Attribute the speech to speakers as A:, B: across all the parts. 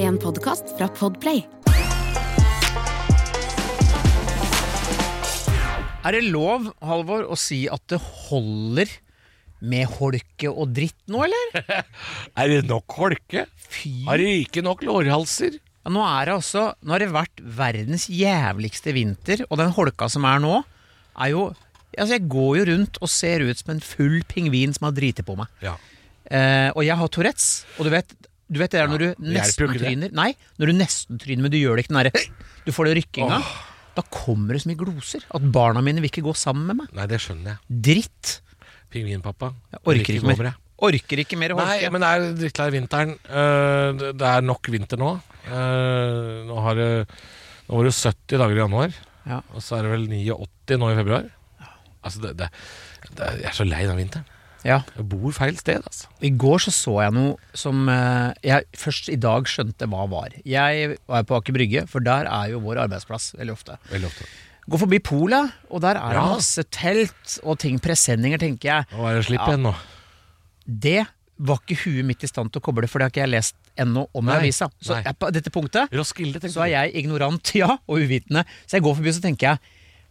A: En podkast fra Podplay.
B: Er det lov, Halvor, å si at det holder med holke og dritt nå, eller?
C: Er det nok holke?
B: Fy
C: Har de ikke nok lårhalser?
B: ja, Nå er det også Nå har det vært verdens jævligste vinter, og den holka som er nå, er jo Altså, jeg går jo rundt og ser ut som en full pingvin som har driti på meg.
C: Ja.
B: Eh, og jeg har Tourettes, og du vet, du vet det der når du
C: det hjelper jo
B: nesten
C: ikke det.
B: tryner Nei, når du nesten tryner, men du gjør det ikke den derre Du får det rykkinga. Da kommer det så mye gloser at barna mine vil ikke gå sammen med meg.
C: Nei, det skjønner jeg.
B: Dritt.
C: Pingvinpappa.
B: Jeg orker ikke
C: Liker
B: mer.
C: over det.
B: Orker ikke mer holke.
C: Nei, men det er drittlei vinteren. Eh, det- det er nok vinter nå. Eh, nå, har det, nå var det 70 dager i januar,
B: Ja.
C: og så er det vel 89 nå i februar. Altså, det, det, det, jeg er så lei den vinteren.
B: Ja.
C: Jeg bor feil sted, altså.
B: I går så så jeg noe som eh, jeg først i dag skjønte hva var. Jeg var på Aker Brygge, for der er jo vår arbeidsplass veldig ofte.
C: Veldig ofte.
B: Går forbi Pola, og der er det
C: Ja.
B: masse telt og ting, presenninger, tenker jeg.
C: Nå er det slipp
B: Ja.
C: igjen nå.
B: Det var ikke huet mitt i stand til å koble, for det har ikke jeg lest ennå om i
C: Nei.
B: avisa. Så
C: Nei.
B: jeg, på dette punktet
C: Roskilde, tenker
B: så er jeg ignorant, ja, og uvitende. Så jeg går forbi og så tenker jeg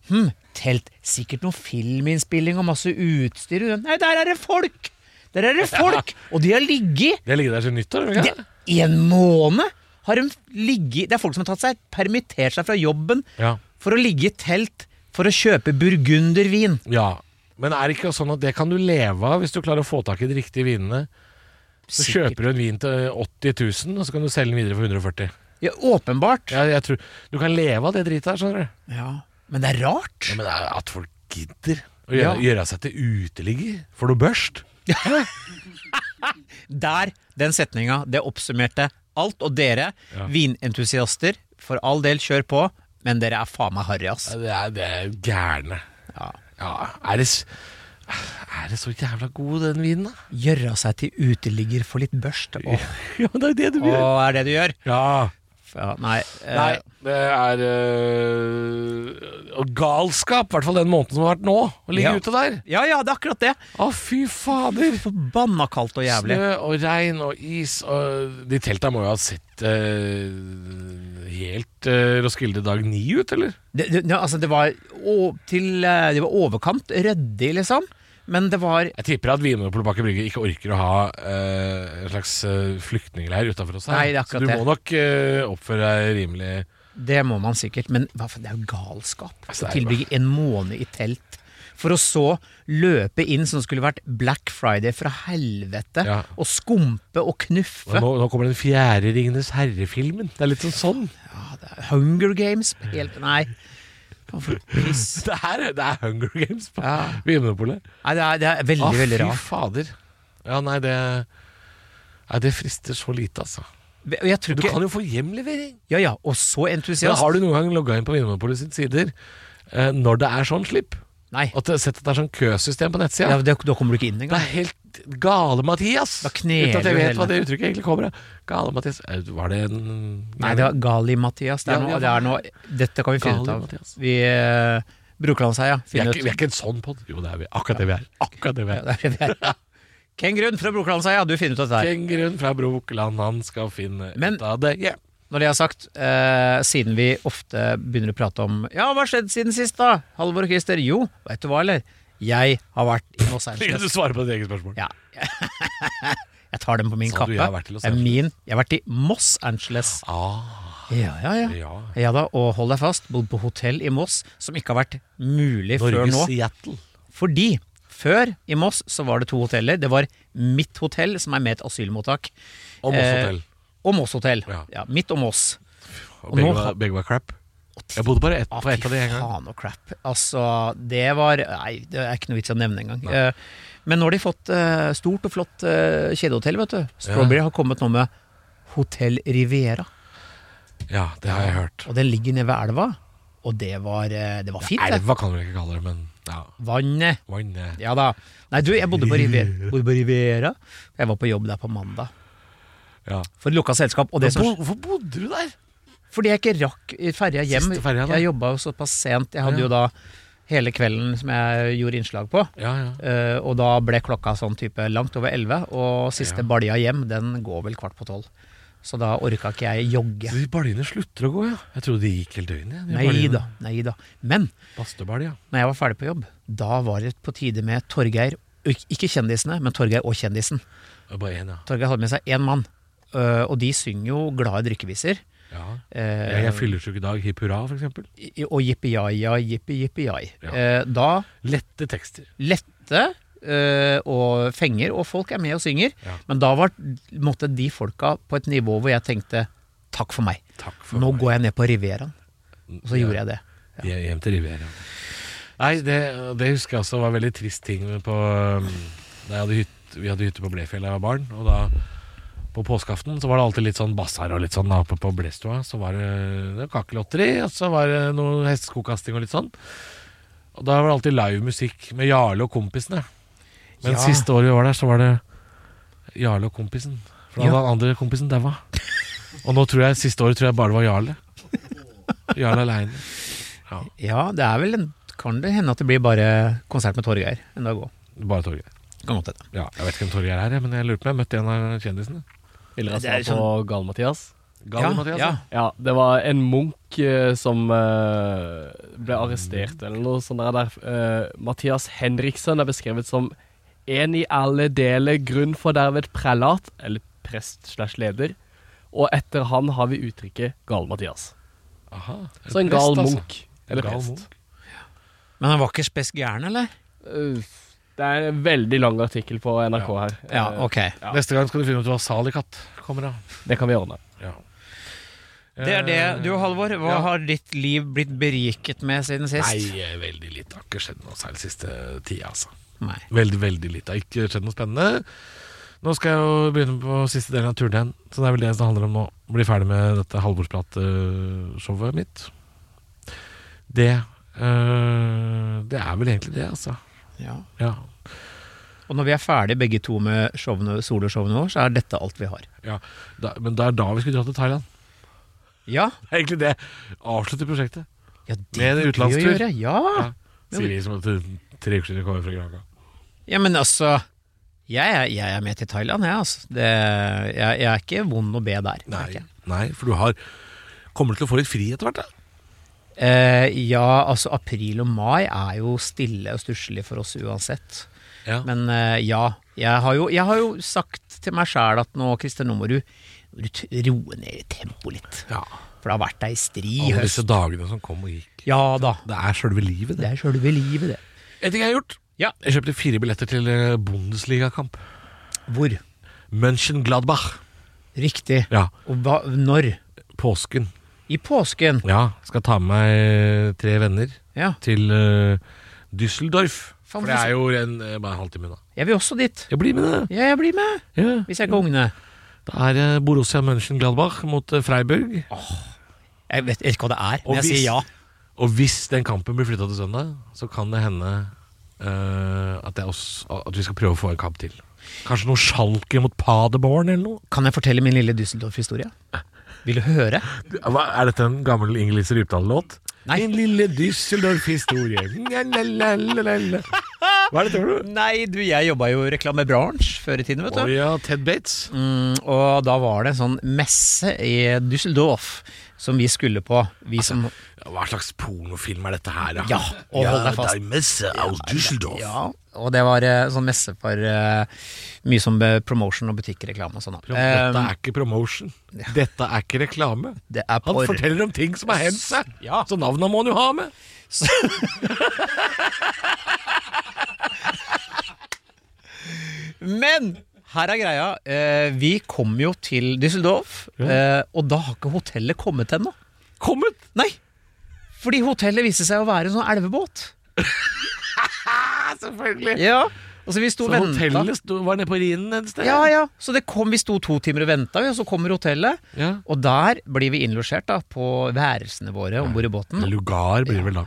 B: Hm, telt. Sikkert noe filminnspilling og masse utstyr. Nei, der er det folk! Der er det folk! Og de har ligget
C: Det har ligget der siden nyttår. har det ikke det?
B: Det- I en måned har de ligget Det er folk som har tatt seg permittert seg fra jobben
C: Ja.
B: for å ligge i telt for å kjøpe burgundervin.
C: Ja, men er det ikke sånn at det kan du leve av hvis du klarer å få tak i de riktige vinene? Så
B: Sikkert.
C: kjøper du en vin til 80 000, og så kan du selge den videre for 140
B: Ja, åpenbart.
C: jeg, jeg tror, Du kan leve av det dritet her, skjønner du.
B: Ja, Men det er rart.
C: Ja, men det er at folk gidder å
B: Ja.
C: gjøre, gjøre seg til uteligger for noe børst.
B: Der, den setninga, det oppsummerte alt. Og dere,
C: Ja.
B: vinentusiaster, for all del, kjør på. Men dere er faen meg harry, ass.
C: Ja, Det er, det er jo gærne.
B: Ja.
C: Ja, er det, s- er det så jævla god, den vinen, da?
B: Gjøre seg til uteligger for litt børst. Åh,
C: Ja, det er jo det du
B: åh, er det du gjør?
C: Ja.
B: Ja, nei. eh,
C: Nei, det er øh, og galskap, i hvert fall den måneden som har vært nå, å ligge
B: Ja.
C: ute der.
B: Ja ja, det er akkurat det.
C: Å, fy fader!
B: Forbanna kaldt og jævlig.
C: Snø og regn og is og De telta må jo ha sett eh, helt eh, Roskilde dag ni ut, eller?
B: Det, det, ja, altså det, var å, til, eh, det var overkant ryddig, liksom. Men det var
C: Jeg tipper at Vinmonopolet Baker Brygge ikke orker å ha eh, en slags eh, flyktningleir utafor oss her.
B: Nei, det er akkurat
C: Så du
B: det.
C: må nok eh, oppføre deg rimelig
B: Det må man sikkert. Men hva for- det er jo galskap. å
C: Altså, det er jo-
B: tilbringe en måned i telt. For å så løpe inn som skulle vært Black Friday fra helvete.
C: Ja.
B: Og skumpe og
C: Og
B: knuffe.
C: nå, nå kommer den fjerde Ringenes herre-filmen. Det er litt sånn sånn.
B: Hunger Games. Helt, nei. Hva for piss.
C: Det er, det er Hunger Games på
B: Ja.
C: Vinmonopolet.
B: Nei, det er, det er veldig,
C: Å,
B: veldig
C: Ah, fy
B: rart.
C: fader. Ja, nei, det Nei, det frister så lite, altså.
B: Og Jeg tror
C: Du
B: ikke
C: kan jo få hjemlevering.
B: Ja ja, og så
C: Men
B: entusiast.
C: har du noen gang logga inn på Vinmonopolet sine sider eh, når det er sånn slipp?
B: Nei.
C: At det, sett at det er sånn køsystem på nettsida?
B: Ja, det, da kommer du ikke inn
C: det
B: engang.
C: er helt gale, Mathias!
B: Da kneler
C: Uten at jeg
B: du
C: vet
B: hele-
C: hva det uttrykket egentlig kommer av. Gale, Mathias. Eh, Var det en
B: Nei, det var Gali-Mathias. Det, er
C: Ja,
B: noe-
C: ja.
B: det er noe Dette kan vi finne ut av.
C: Gali-Mathias.
B: Vi eh, Brokelandsheia.
C: vi er,
B: Finn ut.
C: ikke, vi er ikke en sånn pod. Jo, det er vi. Akkurat det vi er. Akkurat det vi er.
B: Ja, det er det vi er. Ken Grunn fra Brokelandsheia, du finner ut av dette her.
C: Kenguruen fra Brokeland, han skal finne
B: Men-
C: ut av det. Ja.
B: Når det er sagt, eh, siden vi ofte begynner å prate om Ja, hva har skjedd siden sist, da? Halvor og Christer. Jo, veit du hva, eller? Jeg har vært i Los
C: Kan
B: Angeles.
C: du svare på ditt eget spørsmål?
B: Ja. Jeg tar den på min
C: Sa
B: kappe.
C: du, jeg har vært i Los
B: Det er
C: Angeles.
B: min. Jeg har vært i Moss Angeles.
C: Ah,
B: Ja, ja, ja.
C: ja.
B: Ja da, og hold deg fast, bodd på hotell i Moss, som ikke har vært mulig før
C: Norges
B: nå.
C: Seattle.
B: Fordi før i Moss så var det to hoteller. Det var mitt hotell, som er med et asylmottak.
C: Og Moss
B: Eh,
C: hotell.
B: Og Moss hotell. Ja.
C: Ja.
B: mitt og Moss.
C: Og
B: og
C: begge,
B: nå har-
C: var, begge var crap. Jeg bodde bare ett,
B: Ah,
C: på ett av de en gang.
B: faen og crap. Altså, det var Nei, det er ikke noe vits i å nevne engang. Eh, men nå har de fått eh, stort og flott eh, kjedehotell, vet du. Strawberry har kommet nå med Hotell Riviera.
C: Ja, det har jeg hørt.
B: Og den ligger nede ved elva. Og det var, eh, det var fint, det.
C: Elva kan du vel ikke kalle det, men ja.
B: Vannet.
C: Vann eh.
B: Ja da. Nei, du, jeg bodde på Riviera. Bodde på Riviera. Jeg var på jobb der på mandag.
C: ja.
B: For et lukka selskap. Og det som
C: Hvor- Hvorfor bodde du der?
B: Fordi jeg ikke rakk i ferja hjem.
C: Siste ferja, da.
B: jeg jobba jo såpass sent. Jeg hadde
C: Ja.
B: jo da hele kvelden som jeg gjorde innslag på.
C: Ja, ja.
B: eh, og da ble klokka sånn type langt over elleve. Og siste
C: Ja.
B: balja hjem, den går vel kvart på tolv. så da orka ikke jeg jogge.
C: Så de baljene slutter å gå, ja. Jeg trodde de gikk hele døgnet. ja, de
B: Nei
C: baljene.
B: da, nei da. Men
C: Bastebalja.
B: når jeg var ferdig på jobb, da var det på tide med Torgeir, ik- ikke kjendisene, men Torgeir og kjendisen.
C: Det er Bare én, ja.
B: Torgeir hadde med seg én mann, øh, og de synger jo glade drikkeviser.
C: ja.
B: Eh,
C: Jeg er fyllesyk i dag. Hipp hurra, for eksempel.
B: i- og jippi-jai-jai, jippi-jippi-jai.
C: Ja.
B: Eh, da
C: Lette tekster.
B: lette øh, og fenger, og folk er med og synger.
C: Ja.
B: Men da var måtte de folka på et nivå hvor jeg tenkte takk for meg.
C: Takk for
B: Nå
C: meg.
B: går jeg ned på Rivieraen. Og så gjorde jeg det.
C: Ja. Hjem til Riviera. Nei, det, det husker jeg også var en veldig trist ting på um, da jeg hadde hytte, Vi hadde hytte på Blefjell da jeg var barn, og da på påskeaften så var det alltid litt sånn bassar og litt sånn da, oppe på Blestua. Så var det, det var kakelotteri, og så var det noe hestekokasting og litt sånn. Og da var det alltid live musikk med Jarle og kompisene.
B: Ja.
C: Men siste året vi var der, så var det Jarle og kompisen. For da
B: Ja.
C: hadde han andre kompisen daua. Og nå tror jeg, siste året tror jeg bare det var Jarle. Jarle aleine. Ja.
B: Ja, det er vel en, kan det hende at det blir bare konsert med Torgeir en dag òg.
C: Bare Torgeir.
B: Kan godt hende.
C: Ja, jeg vet ikke hvem Torgeir er, jeg, men jeg lurer på om jeg møtte en av kjendisene.
A: Eller
B: Det er
A: altså på Gal-Mathias.
C: Gal, Mathias.
B: ja.
A: Ja, det var en munk eh, som eh, ble arrestert eller noe sånt der. der. Eh, Mathias Henriksen er beskrevet som en i alle deler grunnfordervet prelat, eller prest slash leder. Og etter han har vi uttrykket Gal-Mathias.
C: Aha,
A: Så en gal
C: prest, altså.
A: munk. Eller
C: Gal
A: prest.
C: munk.
B: Men han var ikke spes gæren, eller?
A: Eh, Det er en veldig lang artikkel på NRK her. Eh,
B: Ja, ok.
A: Ja.
C: Neste gang skal du finne ut hva Salikatt kommer av.
A: Det kan vi ordne.
C: Ja.
B: Det er det. Du Halvor, hva
C: Eh, Ja.
B: har ditt liv blitt beriket med siden sist?
C: Nei, eh, veldig lite. Det har ikke skjedd noe særlig siste tida, altså.
B: Nei.
C: Veldig, veldig lite. Det har ikke skjedd noe spennende. Nå skal jeg jo begynne på siste delen av turneen, så det er vel det som handler om nå. Bli ferdig med dette halvbordsprateshowet mitt. Det eh, Det er vel egentlig det, altså.
B: Ja.
C: Ja.
B: Og når vi er ferdig begge to med showene, soloshowene våre, så er dette alt vi har.
C: ja. Da, men det er da vi skulle dra til Thailand.
B: Ja,
C: Det er egentlig det. Avslutte prosjektet.
B: ja det
C: Med
B: burde vi
C: en
B: jo
C: utenlandstur.
B: gjøre. Ja.
C: Ja. Sier vi som at det er tre uker siden vi kommer fra Granca.
B: ja, men altså jeg er, jeg er med til Thailand, jeg, altså. Det, jeg, jeg er ikke vond å be der.
C: Nei.
B: merker jeg.
C: Nei, for du har Kommer til å få litt fri etter hvert, da.
B: Eh, ja, altså april og mai er jo stille og stusslig for oss uansett.
C: Ja.
B: Men eh, ja, jeg har, jo, jeg har jo sagt til meg sjæl at nå, Christer, nå må du, må du t- roe ned tempoet litt.
C: ja.
B: For det har vært ei stri i
C: Alle disse
B: høst.
C: dagene som kom og gikk.
B: Ja da.
C: Det er sjølve livet,
B: Det er sjølve livet, det.
C: En ting jeg har gjort.
B: Ja.
C: Jeg kjøpte fire billetter til eh, Bundesliga-kamp.
B: Hvor?
C: Mönchengladbach.
B: Riktig.
C: Ja,
B: Og hva, når?
C: påsken.
B: I påsken.
C: Ja, skal ta med meg eh, tre venner
B: Ja.
C: til eh, Düsseldorf.
B: Faen,
C: For det er jo en, eh, bare en halvtime unna.
B: Jeg vil også dit.
C: Jeg blir med det.
B: Ja, jeg blir med,
C: Ja.
B: hvis jeg ikke har ungene.
C: Det er eh, Borussia Mönchengladbach mot eh, Freiburg.
B: Jeg vet ikke hva det er,
C: Og
B: men jeg
C: hvis-
B: sier ja.
C: Og hvis den kampen blir flytta til søndag, så kan det hende eh, at, det er oss, at vi skal prøve å få en kamp til. Kanskje noe Schalke mot Paderborn eller noe?
B: Kan jeg fortelle min lille Düsseldorf-historie? Vil du høre?
C: Hva, er dette en gammel Ingelis Rypdal-låt?
B: Nei.
C: Min lille Düsseldorf-historie. Nja-nja-nja-nja-nja. Hva er det, tror du?
B: Nei, du, jeg jobba jo i reklamebransje før i tiden, vet
C: Å
B: du.
C: ja, Ted Bates.
B: Mm, og da var det en sånn messe i Düsseldorf som vi skulle på. Vi som
C: Ja, Hva slags pornofilm er dette her, da?
B: Ja, og hold deg fast.
A: Det er messe
C: Aus Düsseldorf.
B: Ja, og det var eh, sånn messe for eh, mye som eh, promotion og butikkreklame og sånn. da.
C: Pro- Dette
B: Eh,
C: er ikke promotion. Dette er ikke reklame.
B: det er
C: Han
B: porr.
C: forteller om ting som har hendt seg.
B: Ja.
C: Så navna må han jo ha med.
B: Men her er greia. eh, vi kom jo til Düsseldorf, eh, og da har ikke hotellet kommet ennå.
C: Kommet!
B: Nei! Fordi hotellet viste seg å være en sånn elvebåt.
C: Ja, selvfølgelig.
B: Ja, og så Altså, vi sto
C: Så
B: og venta.
C: hotellet sto, var nede på Rhinen et sted?
B: Ja, ja. Så det kom, vi sto to timer og venta, og så kommer hotellet.
C: Ja.
B: Og der blir vi innlosjert da, på værelsene våre om bord i båten.
C: Lugar blir det vel da.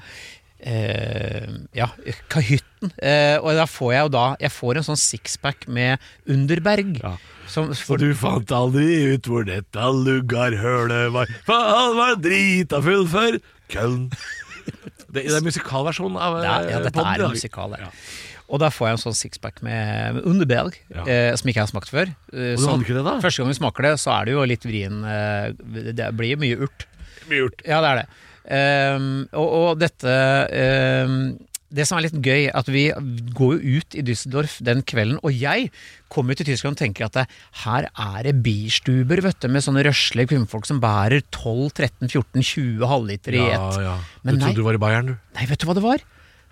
B: Eh, ja, kahytten. Eh, og da får jeg jo da Jeg får en sånn sixpack med Underberg.
C: Ja.
B: Som,
C: For du fant aldri ut hvor dette lugarhølet var, for han var drita full før Køln. Det, det er musikalversjonen av
B: det er, ja,
C: eh,
B: dette
C: podden i
B: er
C: dag.
B: en musikal. her. Og da får jeg en sånn sixpack med underbelg,
C: Ja.
B: eh, som ikke jeg har smakt før. Eh,
C: Og du
B: sånn,
C: hadde ikke det, da?
B: første gang vi smaker det, så er det jo litt vrien eh, Det blir jo mye urt.
C: Mye gjort.
B: Ja, det er det. Ehm, og, og dette ehm, Det som er litt gøy, at vi går jo ut i Düsseldorf den kvelden, og jeg kommer jo til Tyskland og tenker at det, her er det bierstuber, vet du, med sånne røslige kvinnfolk som bærer 12-13-14-20 halvliter i ett.
C: Ja, ja. Du
B: Men nei.
C: trodde du var i Bayern, du.
B: Nei, vet du hva det var?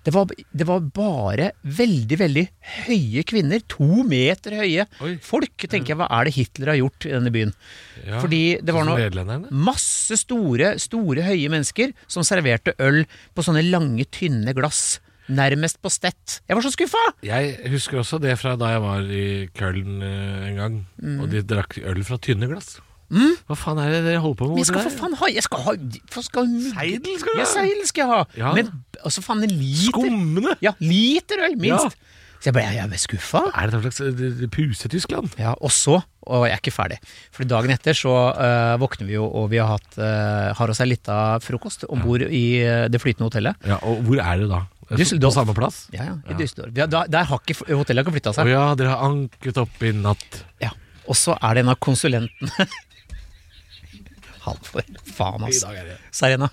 B: Det var, det var bare veldig, veldig høye kvinner. To meter høye
C: Oi.
B: folk. tenker jeg, Hva er det Hitler har gjort i denne byen?
C: Ja.
B: Fordi det var
C: Sånn som
B: noe
C: Nederlenderne?
B: Masse store, store, høye mennesker som serverte øl på sånne lange, tynne glass. Nærmest på stett. Jeg var så skuffa!
C: Jeg husker også det fra da jeg var i Köln eh, en gang, og de drakk øl fra tynne glass. Hva faen er det dere holder på med?
B: Men jeg skal
C: borte
B: for faen ha Jeg skal ha for skal,
C: Seidel skal du
B: ja,
C: ha.
B: seidel skal jeg ha!
C: Ja.
B: Men altså, faen, en liter
C: Skummende!
B: Ja, liter øl, minst! Så jeg ble, jeg ble skuffa.
C: Er det noe slags eh, det- det Puse-Tyskland?
B: Ja, og så, og jeg er ikke ferdig, for dagen etter så eh, våkner vi jo, og vi har, hatt, eh, har oss ei lita frokost om bord i eh, det flytende hotellet.
C: Ja, og hvor er det da? Eh,
B: Düsseldorf.
C: På samme plass?
B: Ja, ja, i
C: Ja.
B: Düsseldorf. Ja, da, der har ikke hotellet har ikke flytta
C: Å
B: seg.
C: ja, dere har anket opp i natt.
B: Ja. Og så er det en av konsulentene Halvor, faen
C: I
B: altså.
C: dag er det
B: Serena.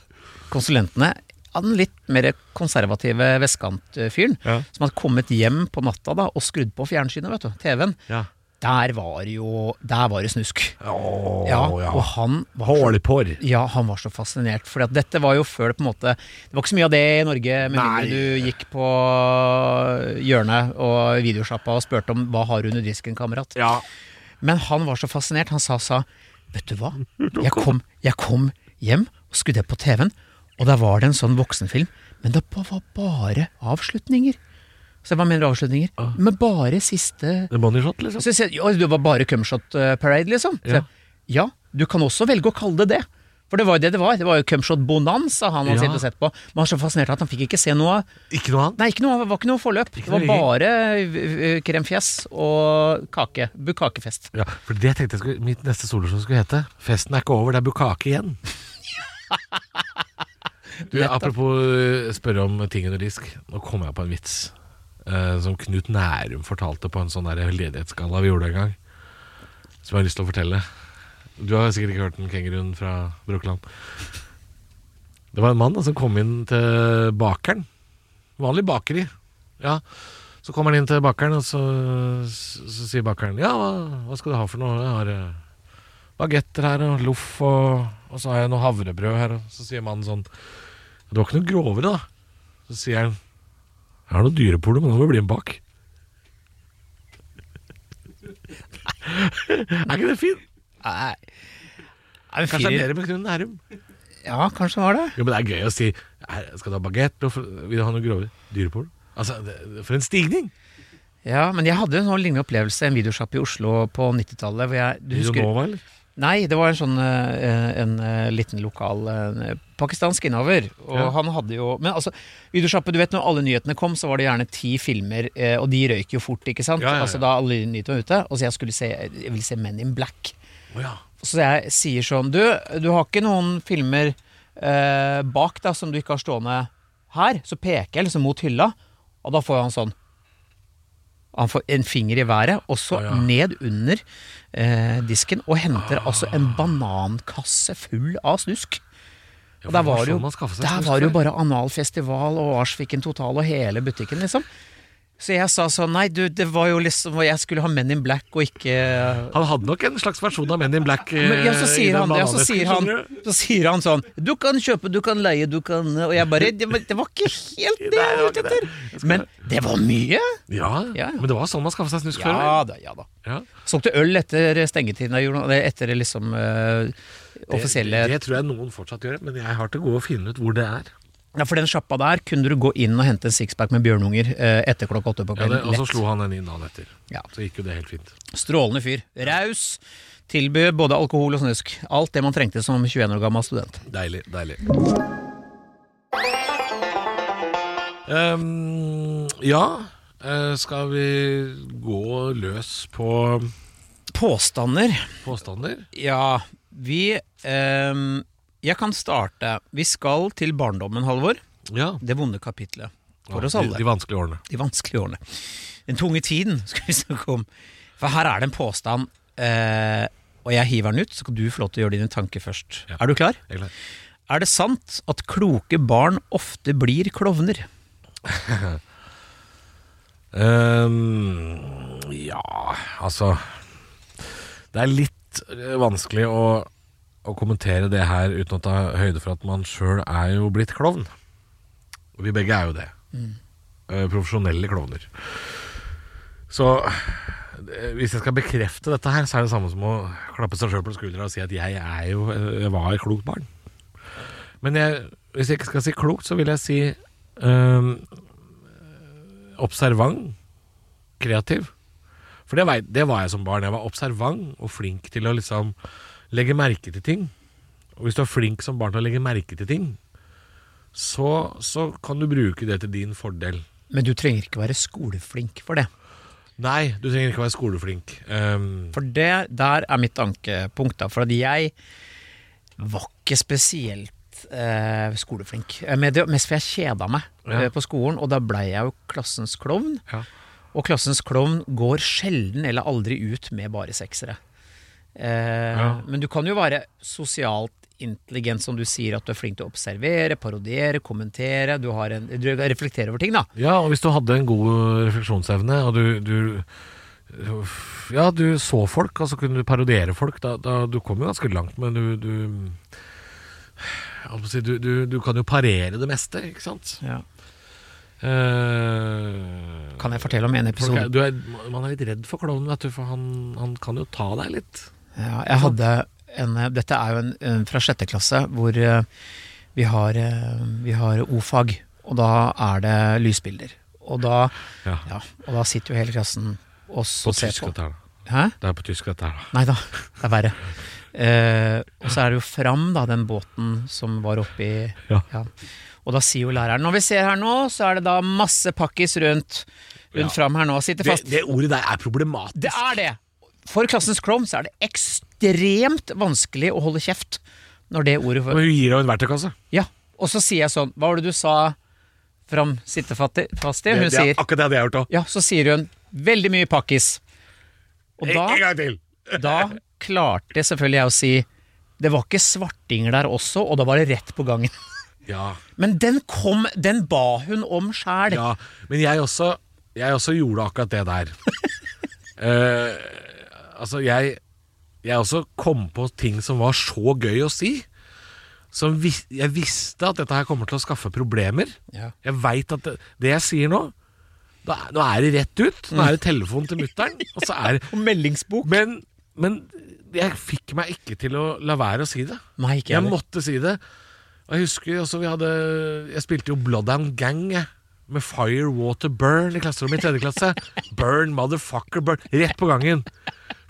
B: Konsulentene av den litt mer konservative vestkantfyren,
C: Ja.
B: som hadde kommet hjem på natta da og skrudd på fjernsynet, vet du, TV-en.
C: Ja.
B: Der var jo Der var det snusk.
C: Åh,
B: Ja,
C: ja.
B: Og han var
C: Hålpår.
B: Ja, han var så fascinert. For at dette var jo før det på en måte Det var ikke så mye av det i Norge, med
C: Nei.
B: mindre du gikk på hjørnet og videosjappa og spurte om hva har du under disken, kamerat.
C: Ja.
B: Men han var så fascinert. Han sa sa Vet du hva? Jeg kom, jeg kom hjem og skrudde på TV-en, og der var det en sånn voksenfilm, men det ba- var bare avslutninger. Så hva mener du avslutninger?
C: Ah.
B: Men bare siste
C: The money shot, liksom.
B: så jeg sier, «Oi, det var bare cumshot eh, parade, liksom. Så
C: Ja.
B: jeg, ja, du kan også velge å kalle det det. For det var jo det det var. Det var jo cumshot bonanza han hadde
C: Ja.
B: sittet og sett på. Men han var så fascinert at han fikk ikke se noe av
C: Ikke noe annet?
B: Nei, ikke noe, av- det var ikke noe forløp.
C: Ikke
B: det var
C: noe
B: bare eh, kremfjes og kake. Bukakefest.
C: Ja, for det tenkte jeg skulle, mitt neste soloshow skulle hete. Festen er ikke over, det er bukake igjen. Du, apropos eh, spørre om ting under disk. Nå kom jeg på en vits eh, som Knut Nærum fortalte på en sånn der ledighetsgalla vi gjorde en gang. Som jeg har lyst til å fortelle. Du har sikkert ikke hørt den kenguruen fra Brokeland. Det var en mann da, som kom inn til bakeren. Vanlig bakeri. Ja, Så kommer han inn til bakeren, og så, så, så sier bakeren Ja, hva, hva skal du ha for noe? Jeg har eh, bagetter her og loff, og, og så har jeg noe havrebrød her. Og så sier mannen sånn Det var ikke noe grovere, da. Så sier han Jeg har noe dyreporno, men det må bli en bak. er ikke det fint?
B: Nei. Nei, men
C: Kanskje det er
B: firer-
C: bedre med Knut Nærum.
B: Ja, kanskje det var det.
C: Jo, men det er gøy å si «Her, Skal du ha bagett? Vil du ha noe grovere? Dyreporno? Altså, det, for en stigning!
B: Ja, Men jeg hadde en sånn lignende opplevelse i en videosjappe i Oslo på 90-tallet. hvor jeg- du husker-
C: Nova, eller?
B: Nei, det var en sånn eh, en eh, liten lokal eh, pakistansk innehaver. Og
C: Ja.
B: han hadde jo Men altså, videosjappe, du vet når alle nyhetene kom, så var det gjerne ti filmer, eh, og de røyk jo fort, ikke sant?
C: Ja, ja, ja.
B: Altså da alle nyhetene var ute. Og så jeg skulle se Jeg ville se Men in Black.
C: Å ja.
B: Så jeg sier sånn Du, du har ikke noen filmer eh, bak da som du ikke har stående her? Så peker jeg liksom mot hylla, og da får han sånn han får en finger i været, og så
C: Å, ja.
B: ned under eh, disken, og henter altså en
C: Ah.
B: banankasse full av snusk.
C: Ja,
B: Og
C: for
B: der
C: det
B: var, det jo,
C: sånn man skaffet seg
B: der
C: snus
B: var det jo
C: før.
B: bare analfestival og Arsviken Total og hele butikken, liksom. Så jeg sa sånn Nei, du, det var jo liksom Jeg skulle ha Men in Black og ikke
C: Han hadde nok en slags versjon av Men in Black. eh,
B: men, ja, så
C: i
B: sier han
C: den
B: det, og så
C: bananvesken,
B: sier han,
C: skjønner du?
B: så sier han sånn Du kan kjøpe, du kan leie, du kan Og jeg bare Det, var- det var ikke helt det jeg var ute etter! Men det var mye!
C: Ja,
B: Ja, ja.
C: men det var sånn man skaffet seg snusk før. vel?
B: Ja da, ja da.
C: Ja.
B: Solgte øl etter stengetiden, jeg gjorde noe- etter liksom eh, offisielle
C: Det, det tror jeg noen fortsatt gjør, men jeg har til gode å finne ut hvor det er.
B: Ja, for den sjappa der kunne du gå inn og hente en sixpack med bjørnunger eh, etter klokka åtte på
C: Ja, det,
B: kvelden.
C: og så
B: Lett.
C: slo han den inn dagen etter.
B: Ja.
C: Så gikk jo det helt fint.
B: Strålende fyr. Raus. Tilbød både alkohol og snusk. Alt det man trengte som 21 år gammel student.
C: Deilig, deilig. Ehm, ja, eh, skal vi gå løs på
B: Påstander
C: påstander?
B: Ja, vi ehm, Jeg kan starte. Vi skal til barndommen, Halvor.
C: Ja.
B: Det vonde kapitlet. For oss alle.
C: De, de vanskelige årene.
B: de vanskelige årene. Den tunge tiden skal vi snakke om. For her er det en påstand, eh, og jeg hiver den ut, så kan du få lov til å gjøre dine tanker først.
C: Ja.
B: Er du klar?
C: Jeg er klar.
B: Er det sant at kloke barn ofte blir klovner?
C: Ehm, ja, altså Det er litt eh, vanskelig å, å kommentere det her uten å ta høyde for at man sjøl er jo blitt klovn. Og vi begge er jo det. Eh, profesjonelle klovner. Så eh, hvis jeg skal bekrefte dette her, så er det samme som å klappe seg sjøl på skuldra og si at jeg, er jo, eh, jeg var et klokt barn. Men jeg, hvis jeg ikke skal si klokt, så vil jeg si ehm, observant, kreativ. For det, vei- det var jeg som barn. Jeg var observant og flink til å liksom legge merke til ting. Og hvis du er flink som barn til å legge merke til ting, så, så kan du bruke det til din fordel.
B: Men du trenger ikke være skoleflink for det.
C: Nei, du trenger ikke være skoleflink. Ehm,
B: For det der er mitt ankepunkt. da For at jeg var ikke spesielt eh, skoleflink. Eh, Men det, mest for jeg kjeda meg
C: Ja.
B: eh, på skolen, og da blei jeg jo klassens klovn.
C: ja.
B: Og klassens klovn går sjelden eller aldri ut med bare seksere. Eh,
C: Ja.
B: Men du kan jo være sosialt intelligent, som du sier, at du er flink til å observere, parodiere, kommentere. Du, har en, du reflekterer over ting, da.
C: ja, og hvis du hadde en god refleksjonsevne, og du, du Ja, du så folk, og så kunne du parodiere folk. Da, da, du kom jo ganske langt, men du Du, jeg holdt på å si, du, du, du kan jo parere det meste, ikke sant? Eh,
B: Kan jeg fortelle om en
C: folk er,
B: episode?
C: du er, man er litt redd for klovnen, vet du, for han, han kan jo ta deg litt.
B: Ja, jeg hadde en, dette er jo en, en fra sjette klasse, hvor eh, vi har, eh, vi har O-fag, og da er det lysbilder. Og da,
C: Ja,
B: ja, og da sitter jo hele klassen og
C: på
B: så ser
C: tysk
B: på.
C: dette her, da.
B: Hæ?
C: Det er på tysk dette her, da.
B: Nei da, det er verre. Eh, og så er det jo Fram, da, den båten som var oppi
C: Ja.
B: Og da sier jo læreren Når vi ser her nå, så er det da masse pakkis rundt, rundt
C: Ja.
B: Fram her nå. Sitter
C: Det,
B: fast.
C: det ordet der er problematisk.
B: Det er det! For klassens klovn så er det ekstremt vanskelig å holde kjeft når det ordet
C: Men
B: får
C: hun gir deg en verktøykasse.
B: Ja. Og så sier jeg sånn Hva var det du sa Fram sitter fatti- fast i?
C: Det,
B: Hun
C: det er
B: sier
C: akkurat det hadde jeg gjort òg.
B: Ja, så sier hun Veldig mye pakkis. Og
C: En
B: da
C: en gang til!
B: da klarte selvfølgelig jeg å si Det var ikke svartinger der også, og da var det rett på gangen.
C: Ja,
B: Men den kom, den ba hun om sjæl.
C: ja. Men jeg også, jeg også gjorde akkurat det der. Eh, altså, jeg Jeg også kom på ting som var så gøy å si. Som vis, jeg visste at dette her kommer til å skaffe problemer.
B: Ja.
C: Jeg veit at det, det jeg sier nå da, er- Nå er det rett ut. Nå er det telefon til mutter'n. Og så er det
B: Og meldingsbok.
C: Men, men jeg fikk meg ikke til å la være å si det.
B: Nei, ikke
C: Jeg
B: jeg.
C: måtte si det. Og jeg husker også vi hadde Jeg spilte jo Bloodhound Gang jeg, med Fire, Water, Burn i klasserommet i tredje klasse. Burn, motherfucker, burn. Rett på gangen.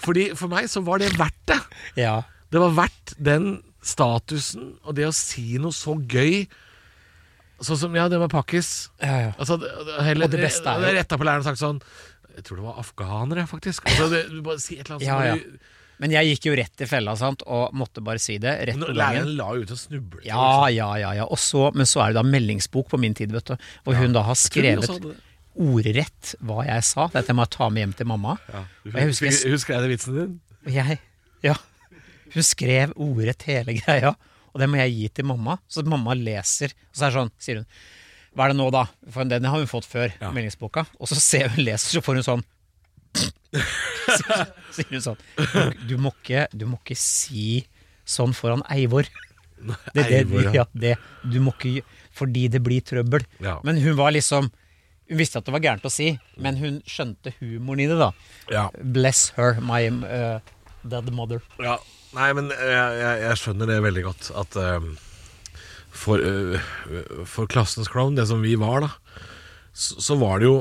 C: Fordi For meg så var det verdt det.
B: Ja.
C: Det var verdt den statusen og det å si noe så gøy. Sånn som ja, det med pakkis.
B: Ja, ja.
C: Altså, det, det, heller,
B: Og det beste er jo-
C: Jeg retta på læreren og sagt sånn Jeg tror det var afghanere, faktisk. Altså, det, du bare si et eller annet
B: Ja,
C: som
B: ja.
C: bare-
B: Men jeg gikk jo rett i fella, sant, og måtte bare si det rett
C: Nå-
B: på gangen.
C: Læreren la jo ut en snuble.
B: Ja, ja, ja. ja. Og så, men så er det da meldingsbok på min tid, vet du. Hvor hun da har skrevet ordrett hva jeg sa. Dette må jeg ta med hjem til mamma.
C: Du,
B: Og jeg husker-
C: husker, husker jeg det vitsen din?
B: Og jeg, ja. Hun skrev ordrett hele greia, og det må jeg gi til mamma. Så mamma leser, og så er det sånn, sier hun Hva er det nå, da? For den har hun fått før,
C: Ja.
B: meldingsboka. Og så ser hun leser, så får hun sånn Så sier hun sånn Du må ikke, du må ikke si sånn foran Eivor. Det, det,
C: Eivor, ja.
B: ja, det, du må ikke gjø- Fordi det blir trøbbel.
C: Ja.
B: Men hun var liksom Hun visste at det var gærent å si, men hun skjønte humoren i det, da.
C: Ja.
B: Bless her, my uh, dead mother.
C: ja. Nei, men eh, jeg, jeg skjønner det veldig godt. At eh, for, eh, for klassens clown, det som vi var, da, så, så var det jo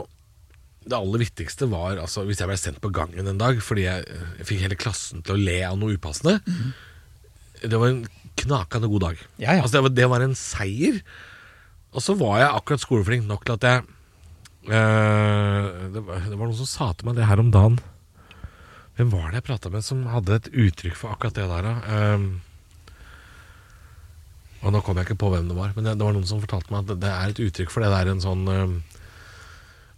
C: det aller viktigste var altså, hvis jeg ble sendt på gangen en dag fordi jeg, jeg fikk hele klassen til å le av noe upassende. Det var en knakende god dag.
B: Ja, ja.
C: Altså, det, var, det var en seier. Og så var jeg akkurat skoleflink nok til at jeg eh, det, var, det var noen som sa til meg det her om dagen. Hvem var det jeg prata med som hadde et uttrykk for akkurat det der, da? Ehm, og nå kom jeg ikke på hvem det var, men det, det var noen som fortalte meg at det, det er et uttrykk for det der en sånn eh,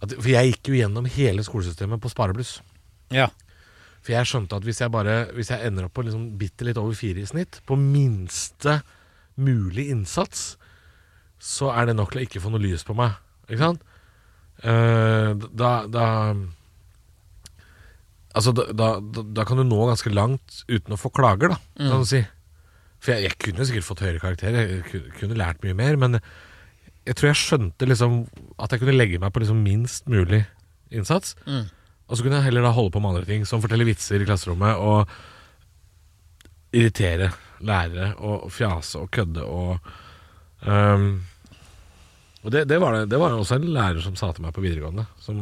C: at, For jeg gikk jo gjennom hele skolesystemet på sparebluss.
B: Ja.
C: For jeg skjønte at hvis jeg bare Hvis jeg ender opp på liksom bitte litt over fire i snitt, på minste mulig innsats, så er det nok til å ikke få noe lys på meg. Ikke sant? Eh, da, da Altså, da, da, da kan du nå ganske langt uten å få klager, da, kan du si. For jeg, jeg kunne jo sikkert fått høyere karakter, jeg ku- kunne lært mye mer, men jeg tror jeg skjønte liksom at jeg kunne legge meg på liksom minst mulig innsats.
B: Mm.
C: Og så kunne jeg heller da holde på med andre ting, som fortelle vitser i klasserommet og irritere lærere og fjase og kødde og ehm, Og det, det, var det, det var jo også en lærer som sa til meg på videregående, som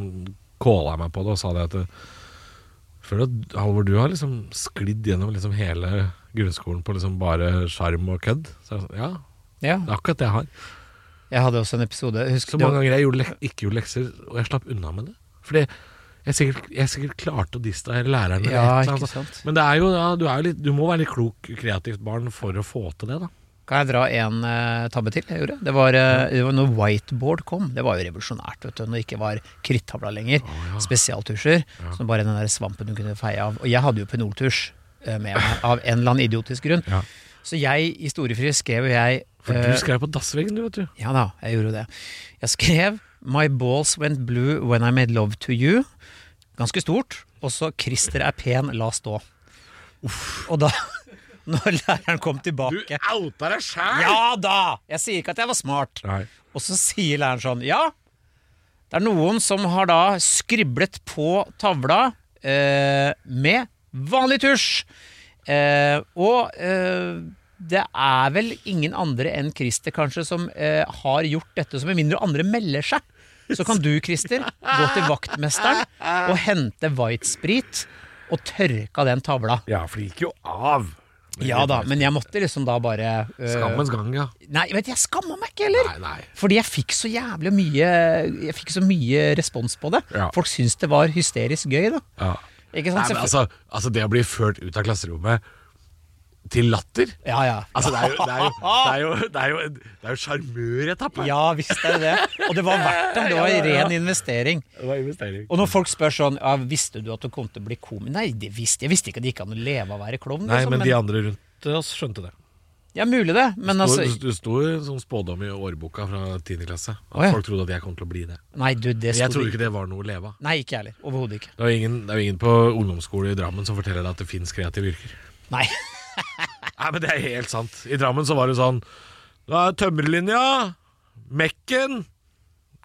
C: calla meg på det og sa det at det, Føler at Halvor, du har liksom sklidd gjennom liksom hele grunnskolen på liksom bare sjarm og kødd. Så jeg, sa, ja,
B: ja.
C: det er akkurat det jeg har.
B: Jeg hadde også en episode
C: Så
B: Husker du
C: mange ganger jeg gjorde lek ikke gjorde lekser, og jeg slapp unna med det. Fordi jeg sikkert, jeg sikkert klarte å distrahere læreren. med
B: Ja,
C: et
B: ikke
C: eller annet.
B: sant.
C: Men det er jo, ja, du, er jo litt, du må være litt klok, kreativt barn for å få til det, da.
B: Kan jeg dra en eh, tabbe til jeg gjorde? Det var, eh, det var når whiteboard kom. Det var jo revolusjonært, vet du. Når det ikke var krittavla lenger. Spesialtusjer.
C: Ja.
B: Som bare den der svampen du kunne feie av. Og jeg hadde jo penoltusj eh, med meg, av en eller annen idiotisk grunn.
C: Ja.
B: Så jeg, i storefri, skrev jo jeg
C: For
B: eh,
C: du skrev på dassveggen, du, vet du.
B: Ja da, jeg gjorde jo det. Jeg skrev 'My balls went blue when I made love to you'. Ganske stort. Og så 'Christer er pen, la stå'. Og da, når læreren kom tilbake
C: outa deg sjæl!
B: Ja da! Jeg sier ikke at jeg var smart.
C: Nei.
B: Og så sier læreren sånn Ja, det er noen som har da skriblet på tavla eh, med vanlig tusj. Eh, og eh, det er vel ingen andre enn Christer kanskje som eh, har gjort dette, så med mindre andre melder seg. Så kan du, Christer, gå til vaktmesteren og hente whitesprit og tørke av den tavla.
C: Ja, for det gikk jo av.
B: Ja da, men jeg måtte liksom da bare eh,
C: Skammens gang, ja.
B: Nei, vet du, jeg skamma meg ikke heller!
C: Nei, nei.
B: Fordi jeg fikk så jævlig mye Jeg fikk så mye respons på det.
C: Ja.
B: Folk syntes det var hysterisk gøy, da.
C: Ja.
B: Ikke
C: Nei,
B: sant?
C: men altså, altså, det å bli ført ut av klasserommet til latter
B: ja, ja.
C: Altså, det er jo- det er jo- det er jo- det er jo en- det er jo sjarmøretappe.
B: ja visst er det det. Og det var verdt det. Det var en ren investering.
C: Det var investering.
B: Og når folk spør sånn ja, 'Visste du at du kom til å bli komiker?' Nei, det visste jeg. jeg visste ikke at det gikk an å leve av å være klovn.
C: Nei,
B: liksom,
C: men de andre rundt oss skjønte det.
B: Ja, mulig det, men altså
C: det, sto, det sto jo som spådom i årboka fra 10. klasse at
B: Å, ja.
C: folk trodde at jeg kom til å bli det.
B: Nei, du, det
C: Men
B: sto
C: jeg trodde ikke det var noe å leve av.
B: Nei, ikke jeg heller. Overhodet ikke.
C: Det er jo ingen, det er jo ingen på ungdomsskole i Drammen som forteller deg at det fins kreative yrker.
B: Nei.
C: Nei, men det er helt sant. I Drammen så var det sånn Da er tømmerlinja, Mekken,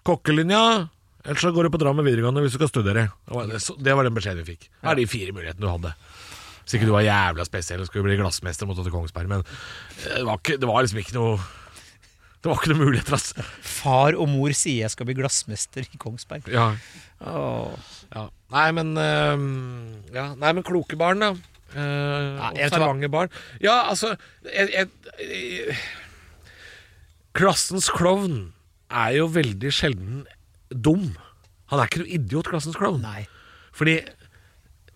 C: kokkelinja Ellers så går du på Drammen videregående hvis du skal studere. Det var, det, så- det var den beskjeden vi fikk. Det er de fire mulighetene du hadde. Hvis ikke du var jævla spesiell og skulle bli glassmester måtte du til Kongsberg, men eh, det var, ikke, det var liksom ikke noe Det var ikke noe muligheter, altså. ass.
B: Far og mor sier jeg skal bli glassmester i Kongsberg.
C: Ja.
B: Åh.
C: Ja. Nei, men eh, ja. Nei, men kloke barn, da. Uh,
B: Nei, jeg tror-
C: Observante barn. Ja, altså jeg, jeg, jeg, Klassens klovn er jo veldig sjelden dum. Han er ikke noe idiot, klassens klovn.
B: Nei.
C: Fordi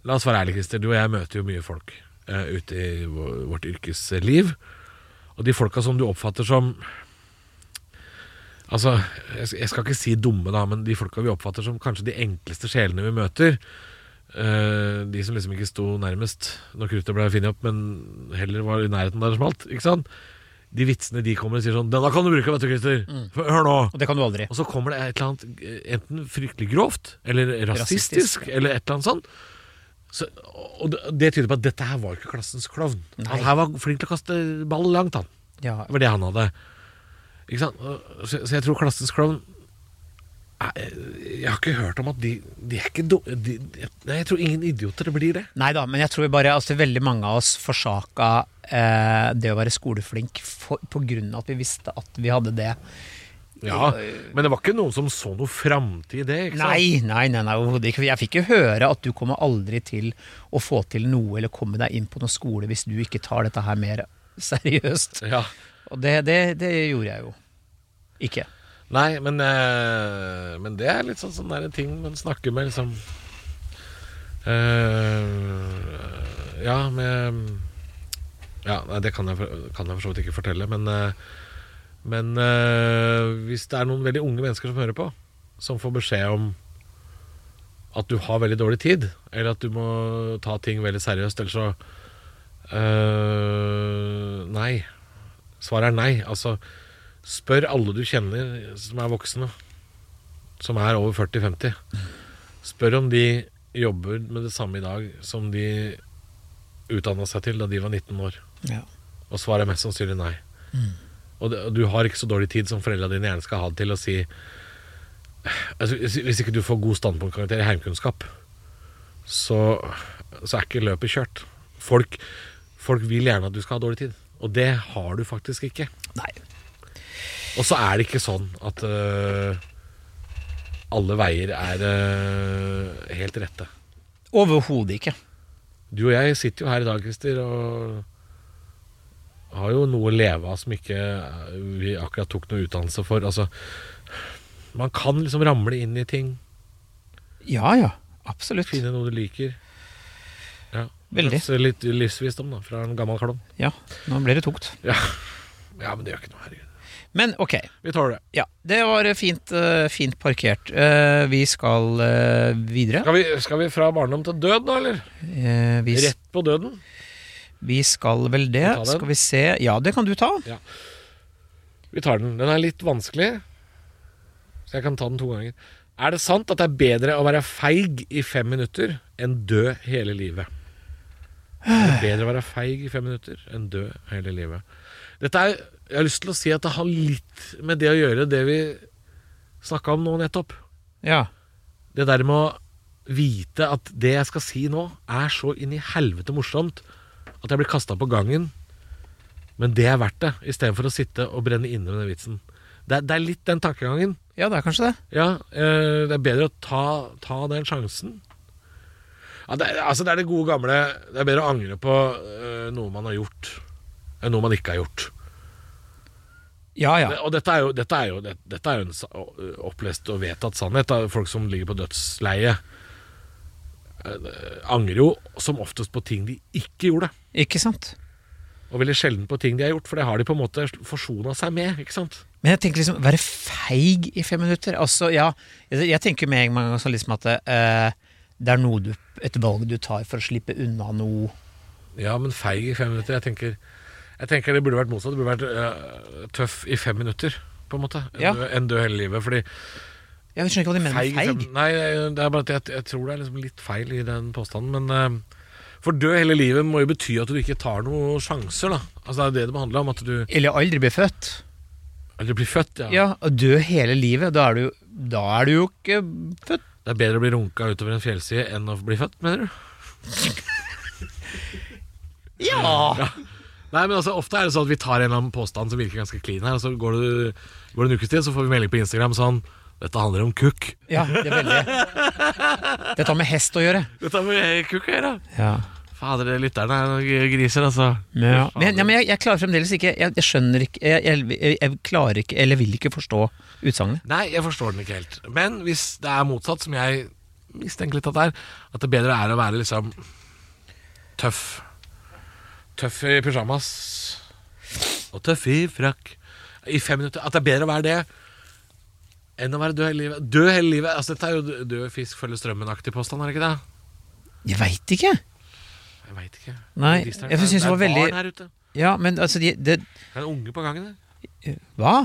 C: La oss være ærlige, Christer. Du og jeg møter jo mye folk eh, ute i vår- vårt yrkesliv. Og de folka som du oppfatter som Altså, jeg skal- jeg skal ikke si dumme, da, men de folka vi oppfatter som kanskje de enkleste sjelene vi møter eh, De som liksom ikke sto nærmest når kruttet ble funnet opp, men heller var i nærheten der det smalt. Ikke sant? De vitsene de kommer og sier sånn 'Denne kan du bruke, vet du, Christer. Hør nå.'
B: Og det kan du aldri.
C: Og så kommer det et eller annet eh, enten fryktelig grovt, eller
B: Rasistisk,
C: rasistisk, eller et eller annet sånt. Så, og det- det tyder på at dette her var ikke klassens klovn.
B: Nei.
C: Han her var flink til å kaste ball langt, han.
B: Ja.
C: Det var det han hadde. Ikke sant? Og- Så, så jeg tror klassens klovn Nei, Jeg har ikke hørt om at de, de er ikke dumme de, de, Nei, jeg tror ingen idioter blir det.
B: Nei da, men jeg tror bare altså, veldig mange av oss forsaka eh, det å være skoleflink for, på grunn av at vi visste at vi hadde det.
C: Ja, Men det var ikke noen som så noe framtid i det. Ikke sant?
B: Nei, nei, nei, nei overhodet ikke. Jeg fikk jo høre at du kommer aldri til å få til noe eller komme deg inn på noen skole hvis du ikke tar dette her mer seriøst.
C: Ja.
B: Og det, det, det gjorde jeg jo ikke.
C: Nei, men, eh, men det er litt sånn, sånn der ting man snakker med, liksom Eh, Ja, med Ja, nei, det kan jeg, for- kan jeg for så vidt ikke fortelle, men eh, Men eh, hvis det er noen veldig unge mennesker som hører på, som får beskjed om at du har veldig dårlig tid, eller at du må ta ting veldig seriøst, ellers så øh, Nei. Svaret er nei. Altså, spør alle du kjenner som er voksne, som er over 40-50. Spør om de jobber med det samme i dag som de utdanna seg til da de var 19 år.
B: Ja.
C: Og svaret er mest sannsynlig nei. Og, det, og du har ikke så dårlig tid som foreldra dine gjerne skal ha det til å si altså, hvis, hvis ikke du får god standpunktkarakter i heimkunnskap, så, så er ikke løpet kjørt. Folk, folk vil gjerne at du skal ha dårlig tid, og det har du faktisk ikke.
B: Nei.
C: Og så er det ikke sånn at øh, alle veier er øh, helt rette.
B: Overhodet ikke.
C: Du og jeg sitter jo her i dag, Christer, og har jo noe å leve av som ikke eh, vi akkurat tok noe utdannelse for. Altså, man kan liksom ramle inn i ting,
B: Ja ja, absolutt.
C: finne noe du liker. Ja.
B: Veldig.
C: Kanskje Litt livsvisdom, da, fra en gammel klovn.
B: Ja, nå ble det tungt.
C: Ja. ja, men det gjør ikke noe, herregud.
B: Men ok.
C: Vi tåler det.
B: Ja, det var fint, eh, fint parkert. Eh, Vi skal eh, videre.
C: Skal vi, skal vi fra barndom til død, da, eller?
B: Eh, Vi,
C: Rett på døden?
B: vi skal vel
C: Skal vi ta
B: det.
C: den?
B: Skal vi se Ja, det kan du ta.
C: Vi tar den. Den er litt vanskelig, så jeg kan ta den to ganger. Er det sant at det er bedre å være feig i fem minutter enn dø hele livet? Er det bedre å være feig i fem minutter enn dø hele livet? Dette er, Jeg har lyst til å si at det har litt med det å gjøre, det vi snakka om nå nettopp.
B: Ja.
C: Det der med å vite at det jeg skal si nå, er så inn i helvete morsomt at jeg blir kasta på gangen. Men det er verdt det, istedenfor å sitte og brenne inne med den vitsen. Det er, det er litt den tankegangen.
B: ja, det er kanskje det.
C: Ja, eh, det er bedre å ta, ta den sjansen. Ja, det, er- altså, det er det gode gamle Det er bedre å angre på eh, noe man har gjort, enn noe man ikke har gjort.
B: Ja ja.
C: Det- Og dette er jo, dette er jo, det- dette er jo en sa- opplest og vedtatt sannhet. Da. Folk som ligger på dødsleie, eh, angrer jo som oftest på ting de ikke gjorde.
B: Ikke sant.
C: Og veldig sjelden på ting de har gjort, for det har de på en måte forsona seg med. ikke sant?
B: Men jeg tenker liksom Være feig i fem minutter? Altså, ja. Jeg, jeg tenker med en gang sånn liksom at eh, det er noe du, et valg du tar for å slippe unna noe.
C: Ja, men feig i fem minutter. Jeg tenker, jeg tenker det burde vært motsatt. Det burde vært eh, tøff i fem minutter, på en måte. Enn
B: Ja.
C: dø, enn dø hele livet. Fordi
B: Jeg skjønner ikke hva de mener
C: feig, i
B: med
C: fem-
B: feig.
C: Nei, det er bare at jeg, jeg tror det er liksom litt feil i den påstanden, men eh, For dø hele livet må jo bety at du ikke tar noen sjanser, da. Altså Det er jo det det må handle om. At du
B: Eller aldri bli født.
C: eller blir født, ja.
B: Ja, og dø hele livet. Da er du, da er du jo ikke født.
C: Det er bedre å bli runka utover en fjellside enn å bli født, mener du?
B: Ja!
C: Nei, men altså Ofte er det sånn at vi tar en eller annen påstand som virker ganske clean her, og så går det, går det en ukes tid, så får vi melding på Instagram sånn Dette handler om kukk.
B: Ja, det er veldig Dette har med hest å gjøre.
C: Dette med kukk å gjøre.
B: Ja.
C: Fader, det lytterne er noen griser, altså.
B: Men, ja. men, ja, men jeg, jeg klarer fremdeles ikke Jeg, jeg skjønner ikke jeg, jeg, jeg, jeg klarer ikke, eller vil ikke forstå utsagnet.
C: Nei, jeg forstår den ikke helt. Men hvis det er motsatt, som jeg mistenker litt at det er, at det bedre er å være liksom tøff. Tøff i pysjamas. Og tøff i frakk. I fem minutter. At det er bedre å være det enn å være død hele livet. Død hele livet. Altså, dette er jo dø- død fisk følger strømmen-aktig påstand, er det ikke det?
B: Jeg veit ikke!
C: Jeg veit ikke.
B: Nei,
C: Distert.
B: jeg synes det var
C: Det er
B: veldig-
C: barn her ute.
B: Ja, men altså de, det,
C: Det er en unge på gangen her.
B: Hva?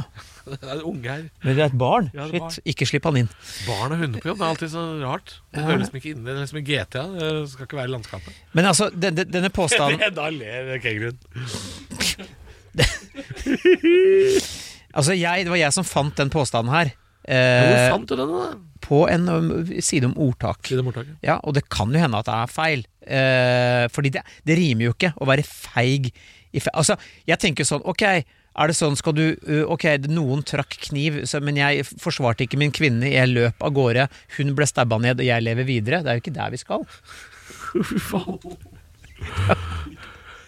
C: Det er en unge her.
B: Men det er et barn?
C: Ja, det er
B: Shit, ikke slipp han inn.
C: Barn og hunder på jobb, det er alltid så rart. Det hører liksom ikke inne, det er liksom i GTA, det skal ikke være i landskapet.
B: Men altså, denne, denne påstanden
C: da ler kenguruen.
B: Altså, jeg, det var jeg som fant den påstanden her.
C: Hvor
B: Eh,
C: fant du den, da?
B: på en um, side om ordtak.
C: I det mottaket.
B: Ja, og det kan jo hende at det er feil. Eh, fordi det, det rimer jo ikke å være feig i fe Altså, jeg tenker sånn, ok, er det sånn, skal du eh, Ok, noen trakk kniv, så, men jeg f- forsvarte ikke min kvinne, jeg løp av gårde, hun ble stabba ned, og jeg lever videre. Det er jo ikke der vi skal.
C: Fy faen.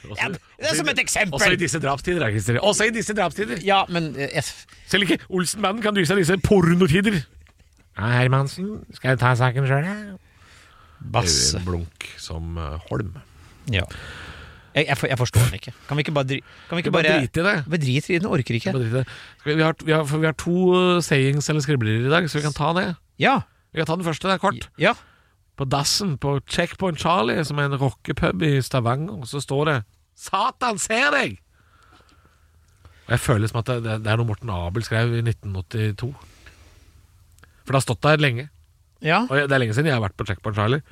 B: Ja, det er som et
C: Også i
B: eksempel!
C: disse drapstider, er Christer. Også i disse drapstider.
B: Ja, men eh, jeg-
C: Selv ikke Olsenbanden kan dyse av disse pornotider. Ja, Hermansen, skal jeg ta saken sjøl, jeg?
B: Basse.
C: Blunk som eh, Holm.
B: Ja. Jeg, jeg, for- jeg forstår den ikke. Kan vi ikke bare dri... Kan vi ikke
C: Bare
B: bare
C: drit i det.
B: Bare drit i den, orker ikke.
C: Bare drit i det. Skal vi, vi, har, vi, har, for vi har to eh, sayings eller skriblerier i dag, så vi kan ta det.
B: Ja.
C: Vi kan ta den første, det er kort.
B: Ja.
C: på dassen på Checkpoint Charlie, som er en rockepub i Stavanger, så står det 'Satan ser deg'! Og Jeg føler som at det, det er noe Morten Abel skrev i 1982. For det har stått der lenge.
B: Ja,
C: Og jeg- det er lenge siden jeg har vært på Checkpoint Charlie.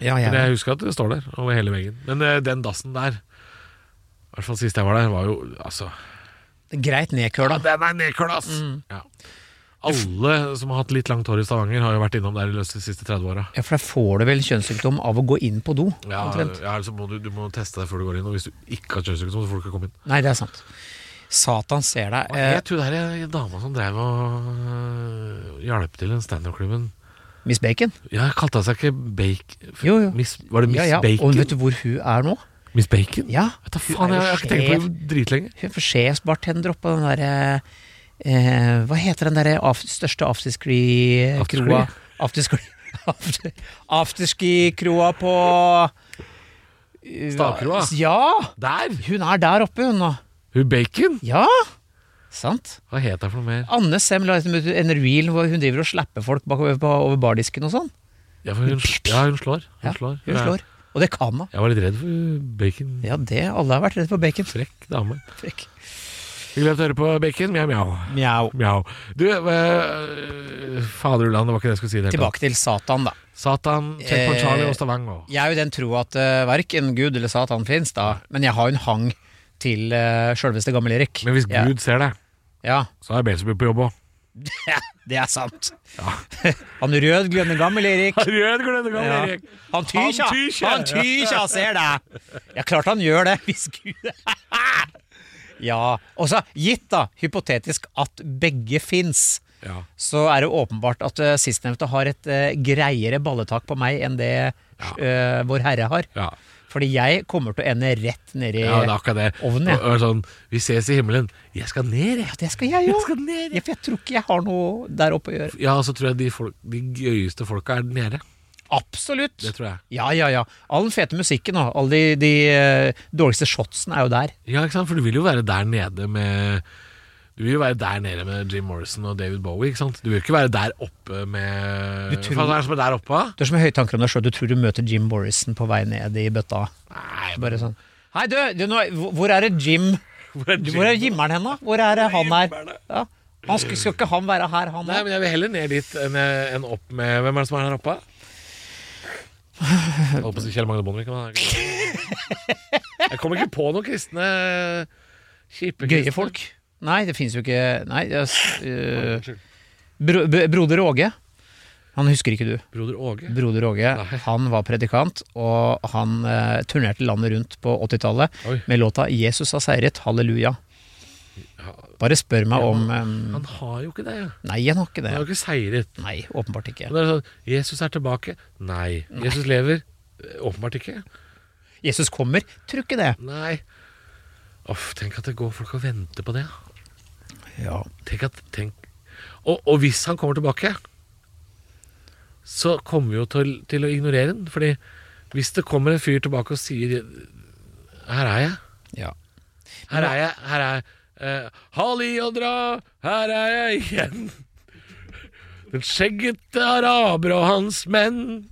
B: ja,
C: Men
B: ja.
C: jeg husker at det står der over hele veggen. Men eh, den dassen der, i hvert fall sist jeg var der, var jo altså
B: Greit nedkøla.
C: Den er nedkøla, ass! Ja. Alle som har hatt litt langt hår i Stavanger, har jo vært innom der i løpet av de siste 30 åra.
B: Ja, for da får du vel kjønnssykdom av å gå inn på do,
C: Ja,
B: omtrent.
C: ja altså må du, du må teste deg før du går inn, og hvis du ikke har kjønnssykdom, så får du ikke komme inn.
B: Nei, det er sant. Satan ser deg.
C: Hva
B: Eh,
C: het hun der dama som drev og øh, hjalp til den standup-klubben?
B: eh, Miss Bacon.
C: Ja, kalte hun seg ikke Bake...
B: Jo, jo.
C: Miss, var det Miss
B: Ja, ja.
C: Bacon?
B: Og vet du hvor hun er nå?
C: Miss Bacon?
B: Ja,
C: Vet da
B: hun er
C: faen, jeg,
B: jo
C: jeg har ikke tenkt på det dritlenge.
B: Hun får sjefsbartender oppå den derre eh, Hva heter den derre af, største afterski-kroa? Afterski after- Afterski-kroa på eh,
C: Stavkroa?
B: Ja!
C: Der!
B: Hun er der oppe, hun nå.
C: Hun Bacon?
B: Ja! Sant.
C: Hva het hun for noe mer?
B: Anne Sem la liksom ut en reel hvor hun driver og slapper folk bakover på, over bardisken og sånn.
C: Ja, for hun, ja, hun slår. Hun
B: Ja,
C: slår.
B: Hun
C: Ja.
B: slår. Og det kan hun.
C: Jeg var litt redd for Bacon.
B: Ja, det. Alle har vært redde for bacon.
C: Frekk dame.
B: Frekk.
C: Hyggelig å høre på Bacon. Mjau, mjau.
B: Mjau.
C: Mjau. Du, øh, faderullan, det var ikke det jeg skulle si. i Det, hele tatt.
B: Tilbake til Satan, da.
C: Satan, Checkpoint
B: Eh,
C: Charlie og Stavanger.
B: Jeg er jo i den tro at uh, verken Gud eller Satan fins, da. Men jeg har jo en hang til uh, sjølveste gammel Erik.
C: Men hvis
B: ja.
C: Gud ser deg,
B: Ja,
C: så er Belsebub på jobb òg.
B: det er sant. han rød, glødende gammel Erik.
C: Rød glødegall,
B: Ja.
C: Erik.
B: Han tykja!
C: Han tykja!
B: Han tykja, ser deg! Ja, klart han gjør det, hvis Gud Ja. Og så, gitt da, hypotetisk at begge fins,
C: Ja.
B: så er det åpenbart at uh, sistnevnte har et uh, greiere balletak på meg enn det uh, Vår Herre har.
C: Ja.
B: Fordi jeg kommer til å ende rett nedi
C: Eh, ja, det er akkurat det.
B: Ovnen, ja.
C: Og- og sånn, vi ses i himmelen. Jeg skal ned, jeg.
B: Ja, det skal jeg jo.
C: Jeg skal ned,
B: Ja,
C: jeg.
B: for jeg tror ikke jeg har noe der oppe å gjøre.
C: Ja, og så tror jeg de, folk, de gøyeste folka er nede.
B: Absolutt.
C: Det tror jeg.
B: Ja, ja, ja. All den fete musikken og alle de, de eh, dårligste shotsene er jo der.
C: Ja, ikke sant? For du vil jo være der nede med Du vil jo være der nede med Jim Morrison og David Bowie, ikke sant? Du vil jo ikke være der oppe med
B: Du tror-
C: Hva faen er det som er der oppe? da?
B: Du er som høye tanker om deg sjøl. Du tror du møter Jim Morrison på vei ned i bøtta.
C: Nei,
B: Bare sånn Hei, du, du nå, hvor er det Jim
C: hvor er Jim?
B: Hvor er Jimmeren hen, da? Hvor er det han her? Ja. Han skal, skal ikke han være her, han
C: Nei,
B: òg?
C: men jeg vil heller ned dit enn enn opp med Hvem er det som er her oppe? Jeg Holdt på å si Kjell Magne Bondevik. men han er ikke- Jeg kommer ikke på noen kristne kjipe
B: Gøye
C: kristne.
B: folk? Nei, det fins jo ikke Nei, det er s- eh,
C: Unnskyld.
B: bro, b- Broder Åge. Han husker ikke du.
C: Broder Åge.
B: Broder Åge,
C: Nei.
B: han var predikant, og han eh, turnerte landet rundt på 80-tallet
C: Oi.
B: med låta 'Jesus har seiret, halleluja'. Bare spør meg om eh,
C: Han har jo ikke det. ja.
B: Nei, han har ikke
C: Han
B: det.
C: har jo ikke seiret.
B: Nei, åpenbart ikke.
C: Men det er sånn, Jesus er tilbake. Nei. Jesus lever. Eh, Åpenbart ikke.
B: Jesus kommer, tror ikke det.
C: Nei. Uff, tenk at det går folk og venter på det. ja.
B: Ja.
C: Tenk at tenk. Og, og hvis han kommer tilbake, så kommer vi jo til, til å ignorere den. Fordi hvis det kommer en fyr tilbake og sier Her er jeg.
B: ja.
C: Her er jeg. Her er eh, Hall i og dra, her er jeg igjen. Den skjeggete araber og hans menn.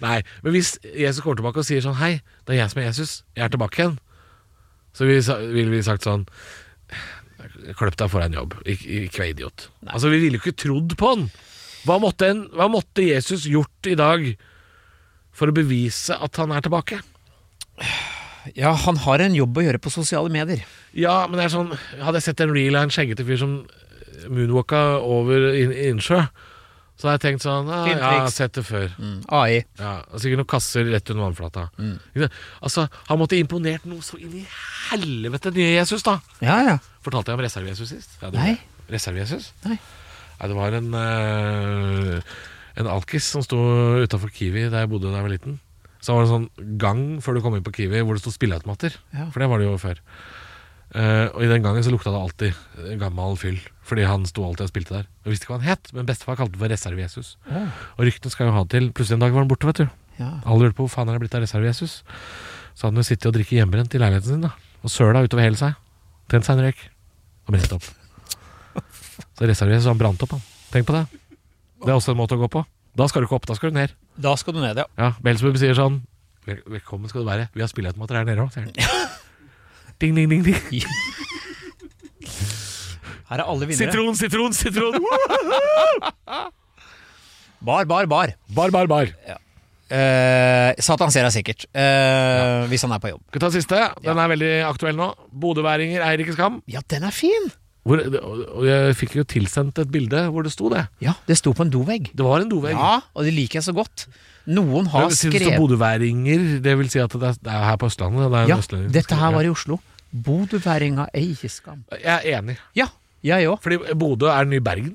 C: Nei, men hvis Jesus kommer tilbake og sier sånn Hei, det er jeg som er Jesus. Jeg er tilbake igjen. Så ville vi, sa- ville vi sagt sånn Kløpp deg for en jobb. Ikke ikke vær idiot. Altså, vi ville jo ikke trodd på han. Hva måtte, en, hva måtte Jesus gjort i dag for å bevise at han er tilbake?
B: ja, han har en jobb å gjøre på sosiale medier.
C: Ja, men det er sånn Hadde jeg sett en reel av en skjeggete fyr som eh, moonwalka over inn- innsjø, så hadde jeg tenkt sånn ah,
B: Fint
C: Ja, jeg har
B: triks.
C: sett det før.
B: Mm. AI.
C: Ja, Sikkert noen kasser rett under vannflata.
B: Mm.
C: Ikke sant? Altså, Han måtte imponert noe så inn i helvete nye Jesus, da!
B: Ja, ja.
C: Fortalte jeg om Reserve-Jesus sist? Ja, det
B: Nei.
C: gjorde jeg. Reserve-Jesus?
B: Nei.
C: Nei, det var en eh, En alkis som sto utafor Kiwi der jeg bodde da jeg var liten. Så var det en sånn gang før du kom inn på Kiwi hvor det sto spilleautomater.
B: Ja.
C: For det var det jo før. Eh, og i den gangen så lukta det alltid eh, gammel fyll. Fordi han sto alltid og spilte der. Jeg visste ikke hva han het, men bestefar kalte det for Reserve-Jesus.
B: Ja.
C: Og ryktene skal jo ha det til Plutselig en dag var han borte, vet du.
B: ja.
C: Alle lurte på hvor faen er det blitt av Reserve-Jesus. Så hadde han jo sittet og drikket hjemmebrent i leiligheten sin, da. Og søla utover hele seg. Tent seg en røyk. Og brente opp. Så Reserve-Jesus, han brant opp, han. Tenk på det. Det er også en måte å gå på. Da skal du ikke opp, da skal du ned.
B: Da skal du ned, ja.
C: Ja, Belsbub sier sånn Vel Velkommen skal du være. Vi har spilleautomater her nede òg, sier han. Ding, ding, ding, ding.
B: Her er alle vinnere.
C: Sitron, sitron, sitron.
B: Bar, bar, bar.
C: Bar, bar, bar.
B: Eh, Satan ser deg sikkert, eh, hvis han er på jobb.
C: Skal vi ta siste? Den er veldig aktuell nå. Bodøværinger eier ikke skam.
B: Ja, den er fin!
C: Hvor, og jeg fikk jo tilsendt et bilde hvor det sto det.
B: Ja, det sto på en dovegg.
C: Det var en dovegg.
B: Ja, og det liker jeg så godt. Noen har
C: Men Synes du
B: skrevet
C: bodøværinger Det vil si at det er, det er her på Østlandet? Det er en
B: Ja,
C: østlending som
B: dette her
C: skriver.
B: var i Oslo. Bodøværinga er ikke skam.
C: Jeg er enig.
B: Ja, jeg òg.
C: Fordi Bodø er den nye Bergen.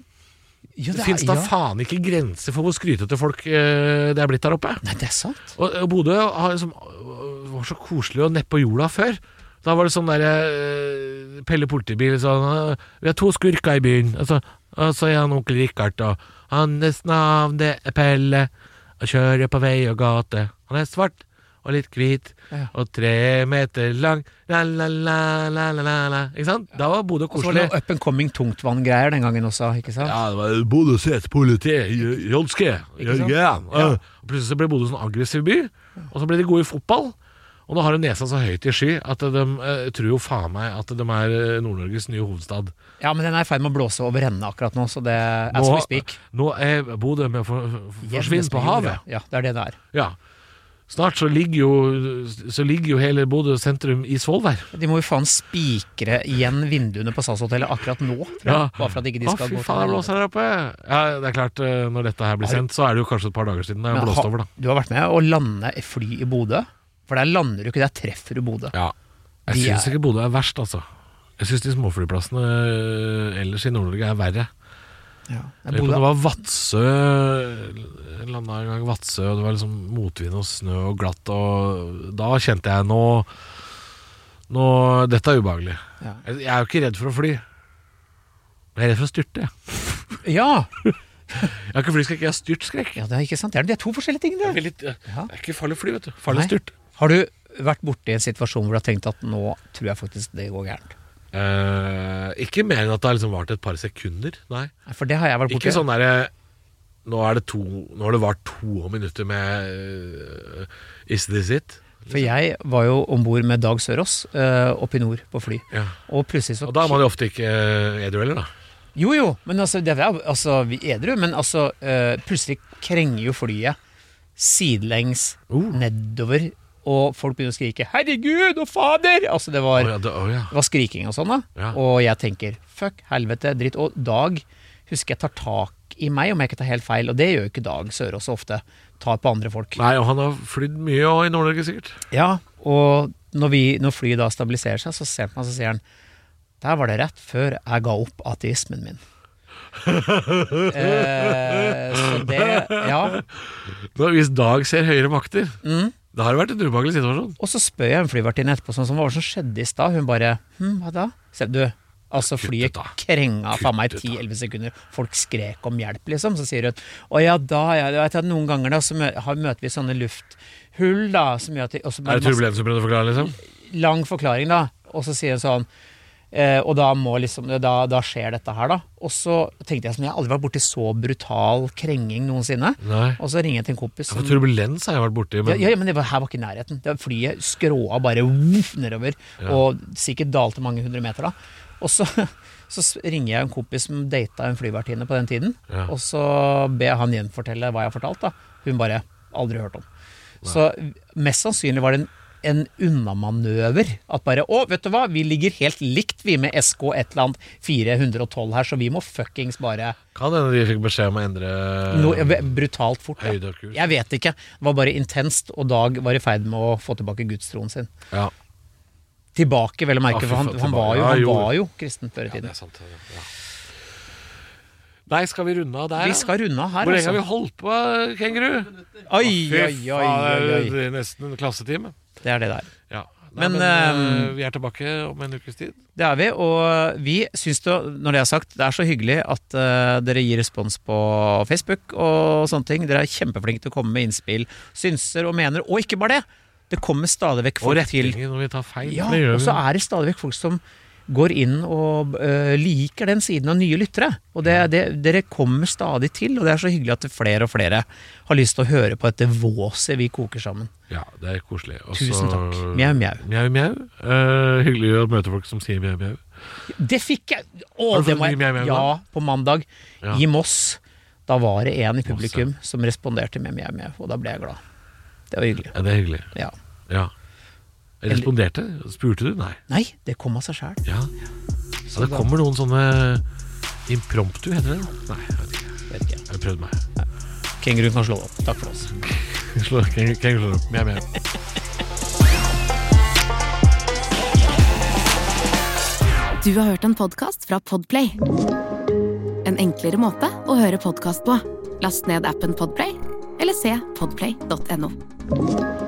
B: Ja,
C: Det,
B: det er-
C: finnes da
B: ja.
C: faen ikke grenser for hvor skrytete folk eh, det er blitt der oppe.
B: Nei, det er sant.
C: Og og Bodø har liksom, øh, var så koselig og nedpå jorda før. Da var det sånn derre øh, Pelle politibil sånn øh, 'Vi har to skurker i byen.' Og så, og så er han onkel Rikard, og hans navn det er Pelle. Og kjører på vei og gate. Han er svart og litt hvit
B: Ja.
C: og tre meter lang. La-la-la-la-la-la. Ikke sant? Da var Bodø
B: Og så var det
C: koselig.
B: noe up and coming tungtvanngreier den gangen også, ikke sant?
C: Ja, det var Bodø sitt politi, J- Jolske,
B: Ikke sant?
C: Jørgen.
B: Ja.
C: Øh. Og Plutselig så ble Bodø sånn aggressiv by, og så ble de gode i fotball. Og nå har de nesa så høyt i sky at de eh, tror jo faen meg at de er eh, Nord-Norges nye hovedstad.
B: Ja, men den er i ferd med å blåse over ende akkurat nå, så det as
C: Nå-
B: we speak.
C: Nå er Bodø med å for, for- forsvinne på havet.
B: Ja, det er det det er.
C: Ja. Snart så ligger jo, så ligger jo hele Bodø sentrum i Svolvær.
B: De må jo faen spikre igjen vinduene på SAS-hotellet akkurat nå, tror jeg.
C: Ja.
B: Bare for at ikke de
C: Å,
B: skal
C: fy
B: gå
C: faen, det blåser der oppe! Ja, det er klart, eh, når dette her blir
B: Har-
C: sendt, så er det jo kanskje et par dager siden det
B: Men
C: har blåst
B: ha-
C: over, da.
B: Du har vært med å lande et fly i Bodø. For der lander du ikke, der treffer du Bodø.
C: Ja. Jeg
B: De
C: syns
B: er-
C: ikke Bodø er verst, altså. Jeg syns de småflyplassene øh, ellers i Nord-Norge er verre.
B: Ja.
C: Jeg lurer på om Det var Vadsø jeg Landa en gang i Vadsø, og det var liksom motvind og snø og glatt, og da kjente jeg nå Nå Dette er ubehagelig.
B: Ja.
C: Jeg jeg er jo ikke redd for å fly. Jeg er redd for å styrte. jeg.
B: ja.
C: Jeg har ikke flyskrekk, jeg har styrtskrekk.
B: ja, det er ikke sant. Det er, det er to forskjellige ting,
C: Det er
B: det.
C: veldig- det
B: Ja.
C: er ikke farlig å fly, vet du. Farlig
B: Nei.
C: å styrte.
B: Har du vært borti en situasjon hvor du har tenkt at nå tror jeg faktisk det går gærent?
C: Eh, ikke mer enn at det har liksom vart et par sekunder. Nei.
B: Nei, For det har jeg vært borti.
C: Ikke sånn derre Nå er det to Nå har det vært to minutter med øh, Is this it?
B: For jeg var jo om bord med Dag Sørås øh, oppe i nord på fly,
C: Ja.
B: og plutselig så
C: Og da er man jo ofte ikke øh, edru heller, da.
B: Jo, jo, men altså, det er, altså vi er edru, men altså øh, Plutselig krenger jo flyet sidelengs
C: Uh.
B: nedover, og folk begynner å skrike 'herregud og fader'! Altså, det
C: Å
B: var
C: ja, det, å, ja.
B: Det var skriking og sånn, da.
C: Ja.
B: Og jeg tenker fuck, helvete, dritt. Og Dag husker jeg tar tak i meg, om jeg ikke tar helt feil. Og det gjør jo ikke Dag Sørås så ofte. Tar på andre folk.
C: Nei, og han har flydd mye og i Nord-Norge, sikkert.
B: Ja, og når, vi, når flyet da stabiliserer seg, så ser han på meg så sier han Der var det rett før jeg ga opp ateismen min. eh, så det Ja.
C: Nå, hvis Dag ser høyere makter
B: Mm.
C: Det har jo vært en ubehagelig situasjon.
B: Og så spør jeg en flyvertinne etterpå sånn, sånn, hva var det som skjedde i stad. Hun bare hm, hva da? Se, du, altså
C: Kutt ut
B: flyet
C: da.
B: krenga faen meg i
C: Kutt ut da.
B: 10-11 sekunder. Folk skrek om hjelp, liksom. Så sier hun å ja, da ja, du vet at noen ganger da så mø har- møter vi sånne lufthull da, som gjør at de, og så
C: Er det turbulens du prøvde å forklare, liksom?
B: masse- Lang forklaring, da. Og så sier hun sånn eh, og da, må liksom, da, da skjer dette her, da. Og så tenkte jeg sånn, jeg har aldri vært borti så brutal krenging noensinne.
C: Nei.
B: Og så ringer jeg til en kompis
C: Ja, for turbulens har jeg vært borti, men
B: ja, ja, men det var, her var ikke nærheten. Det var flyet skråa bare voff nedover, og sikkert dalte mange hundre meter da. Og så, så s- ringer jeg en kompis som data en flyvertinne på den tiden,
C: Ja.
B: og så ber jeg han gjenfortelle hva jeg har fortalt. da Hun bare aldri hørt om. Så mest sannsynlig var det en, en unnamanøver. At bare Å, vet du hva, vi ligger helt likt, vi med SK et eller annet 412 her, så vi må fuckings bare
C: kan hende de fikk beskjed om å endre eh,
B: no, brutalt fort. da.
C: høyde og kurs.
B: Jeg vet ikke. Det var bare intenst, og Dag var i ferd med å få tilbake gudstroen sin.
C: Ja.
B: Tilbake, vel å merke,
C: Ja, fy
B: for han,
C: faen,
B: han, var,
C: tilbake.
B: jo,
C: Ja,
B: han
C: jo.
B: var jo kristen før i
C: ja, det
B: tiden.
C: er sant. Ja. Nei, skal vi runde av der?
B: Vi
C: da?
B: skal runde av her,
C: Hvor lenge har
B: altså.
C: vi holdt på, kenguru?
B: Oi, oi,
C: Fy
B: oi, oi,
C: faen,
B: oi.
C: Det er nesten en klassetime.
B: Det er det der.
C: Ja. Nei,
B: Men,
C: men eh,
B: ehm,
C: vi er tilbake om en ukes tid.
B: Det er vi, og vi syns det, når det er sagt, det er så hyggelig at eh, dere gir respons på Facebook og sånne ting. Dere er kjempeflinke til å komme med innspill, synser og mener, og ikke bare det! Det kommer stadig vekk
C: Og
B: folk til
C: rettinger når vi tar feil.
B: Ja,
C: det gjør
B: og så
C: vi.
B: er det stadig vekk folk som går inn og eh, liker den siden av nye lyttere. Og det, det, dere kommer stadig til, og det er så hyggelig at flere og flere har lyst til å høre på dette våset vi koker sammen.
C: Ja, det er koselig. Og
B: Tusen
C: så-
B: takk. Mjau, mjau.
C: Mjau, mjau. Eh, hyggelig å møte folk som sier mjau, mjau.
B: Det fikk jeg! Å,
C: Har du
B: det
C: fått
B: må
C: mye mjau,
B: jeg
C: mjau,
B: Ja, på mandag
C: Ja.
B: i Moss. Da var det en i publikum som responderte med mjau, mjau, og da ble jeg glad. Det var hyggelig.
C: Ja, det er hyggelig.
B: Ja.
C: Ja. Jeg Responderte? Spurte du? Nei.
B: Nei, det kom av seg sjæl.
C: Ja. Så det kommer noen sånne impromptu, heter det? Nei, jeg vet ikke. Jeg har prøvd meg.
B: Kenguruen kan slå opp. Takk for oss.
C: Slå, kan, kan jeg slå det opp? Mjau, mjau.
D: Du har hørt en podcast fra Podplay En enklere måte å høre podcast på Last ned appen Podplay Eller se podplay.no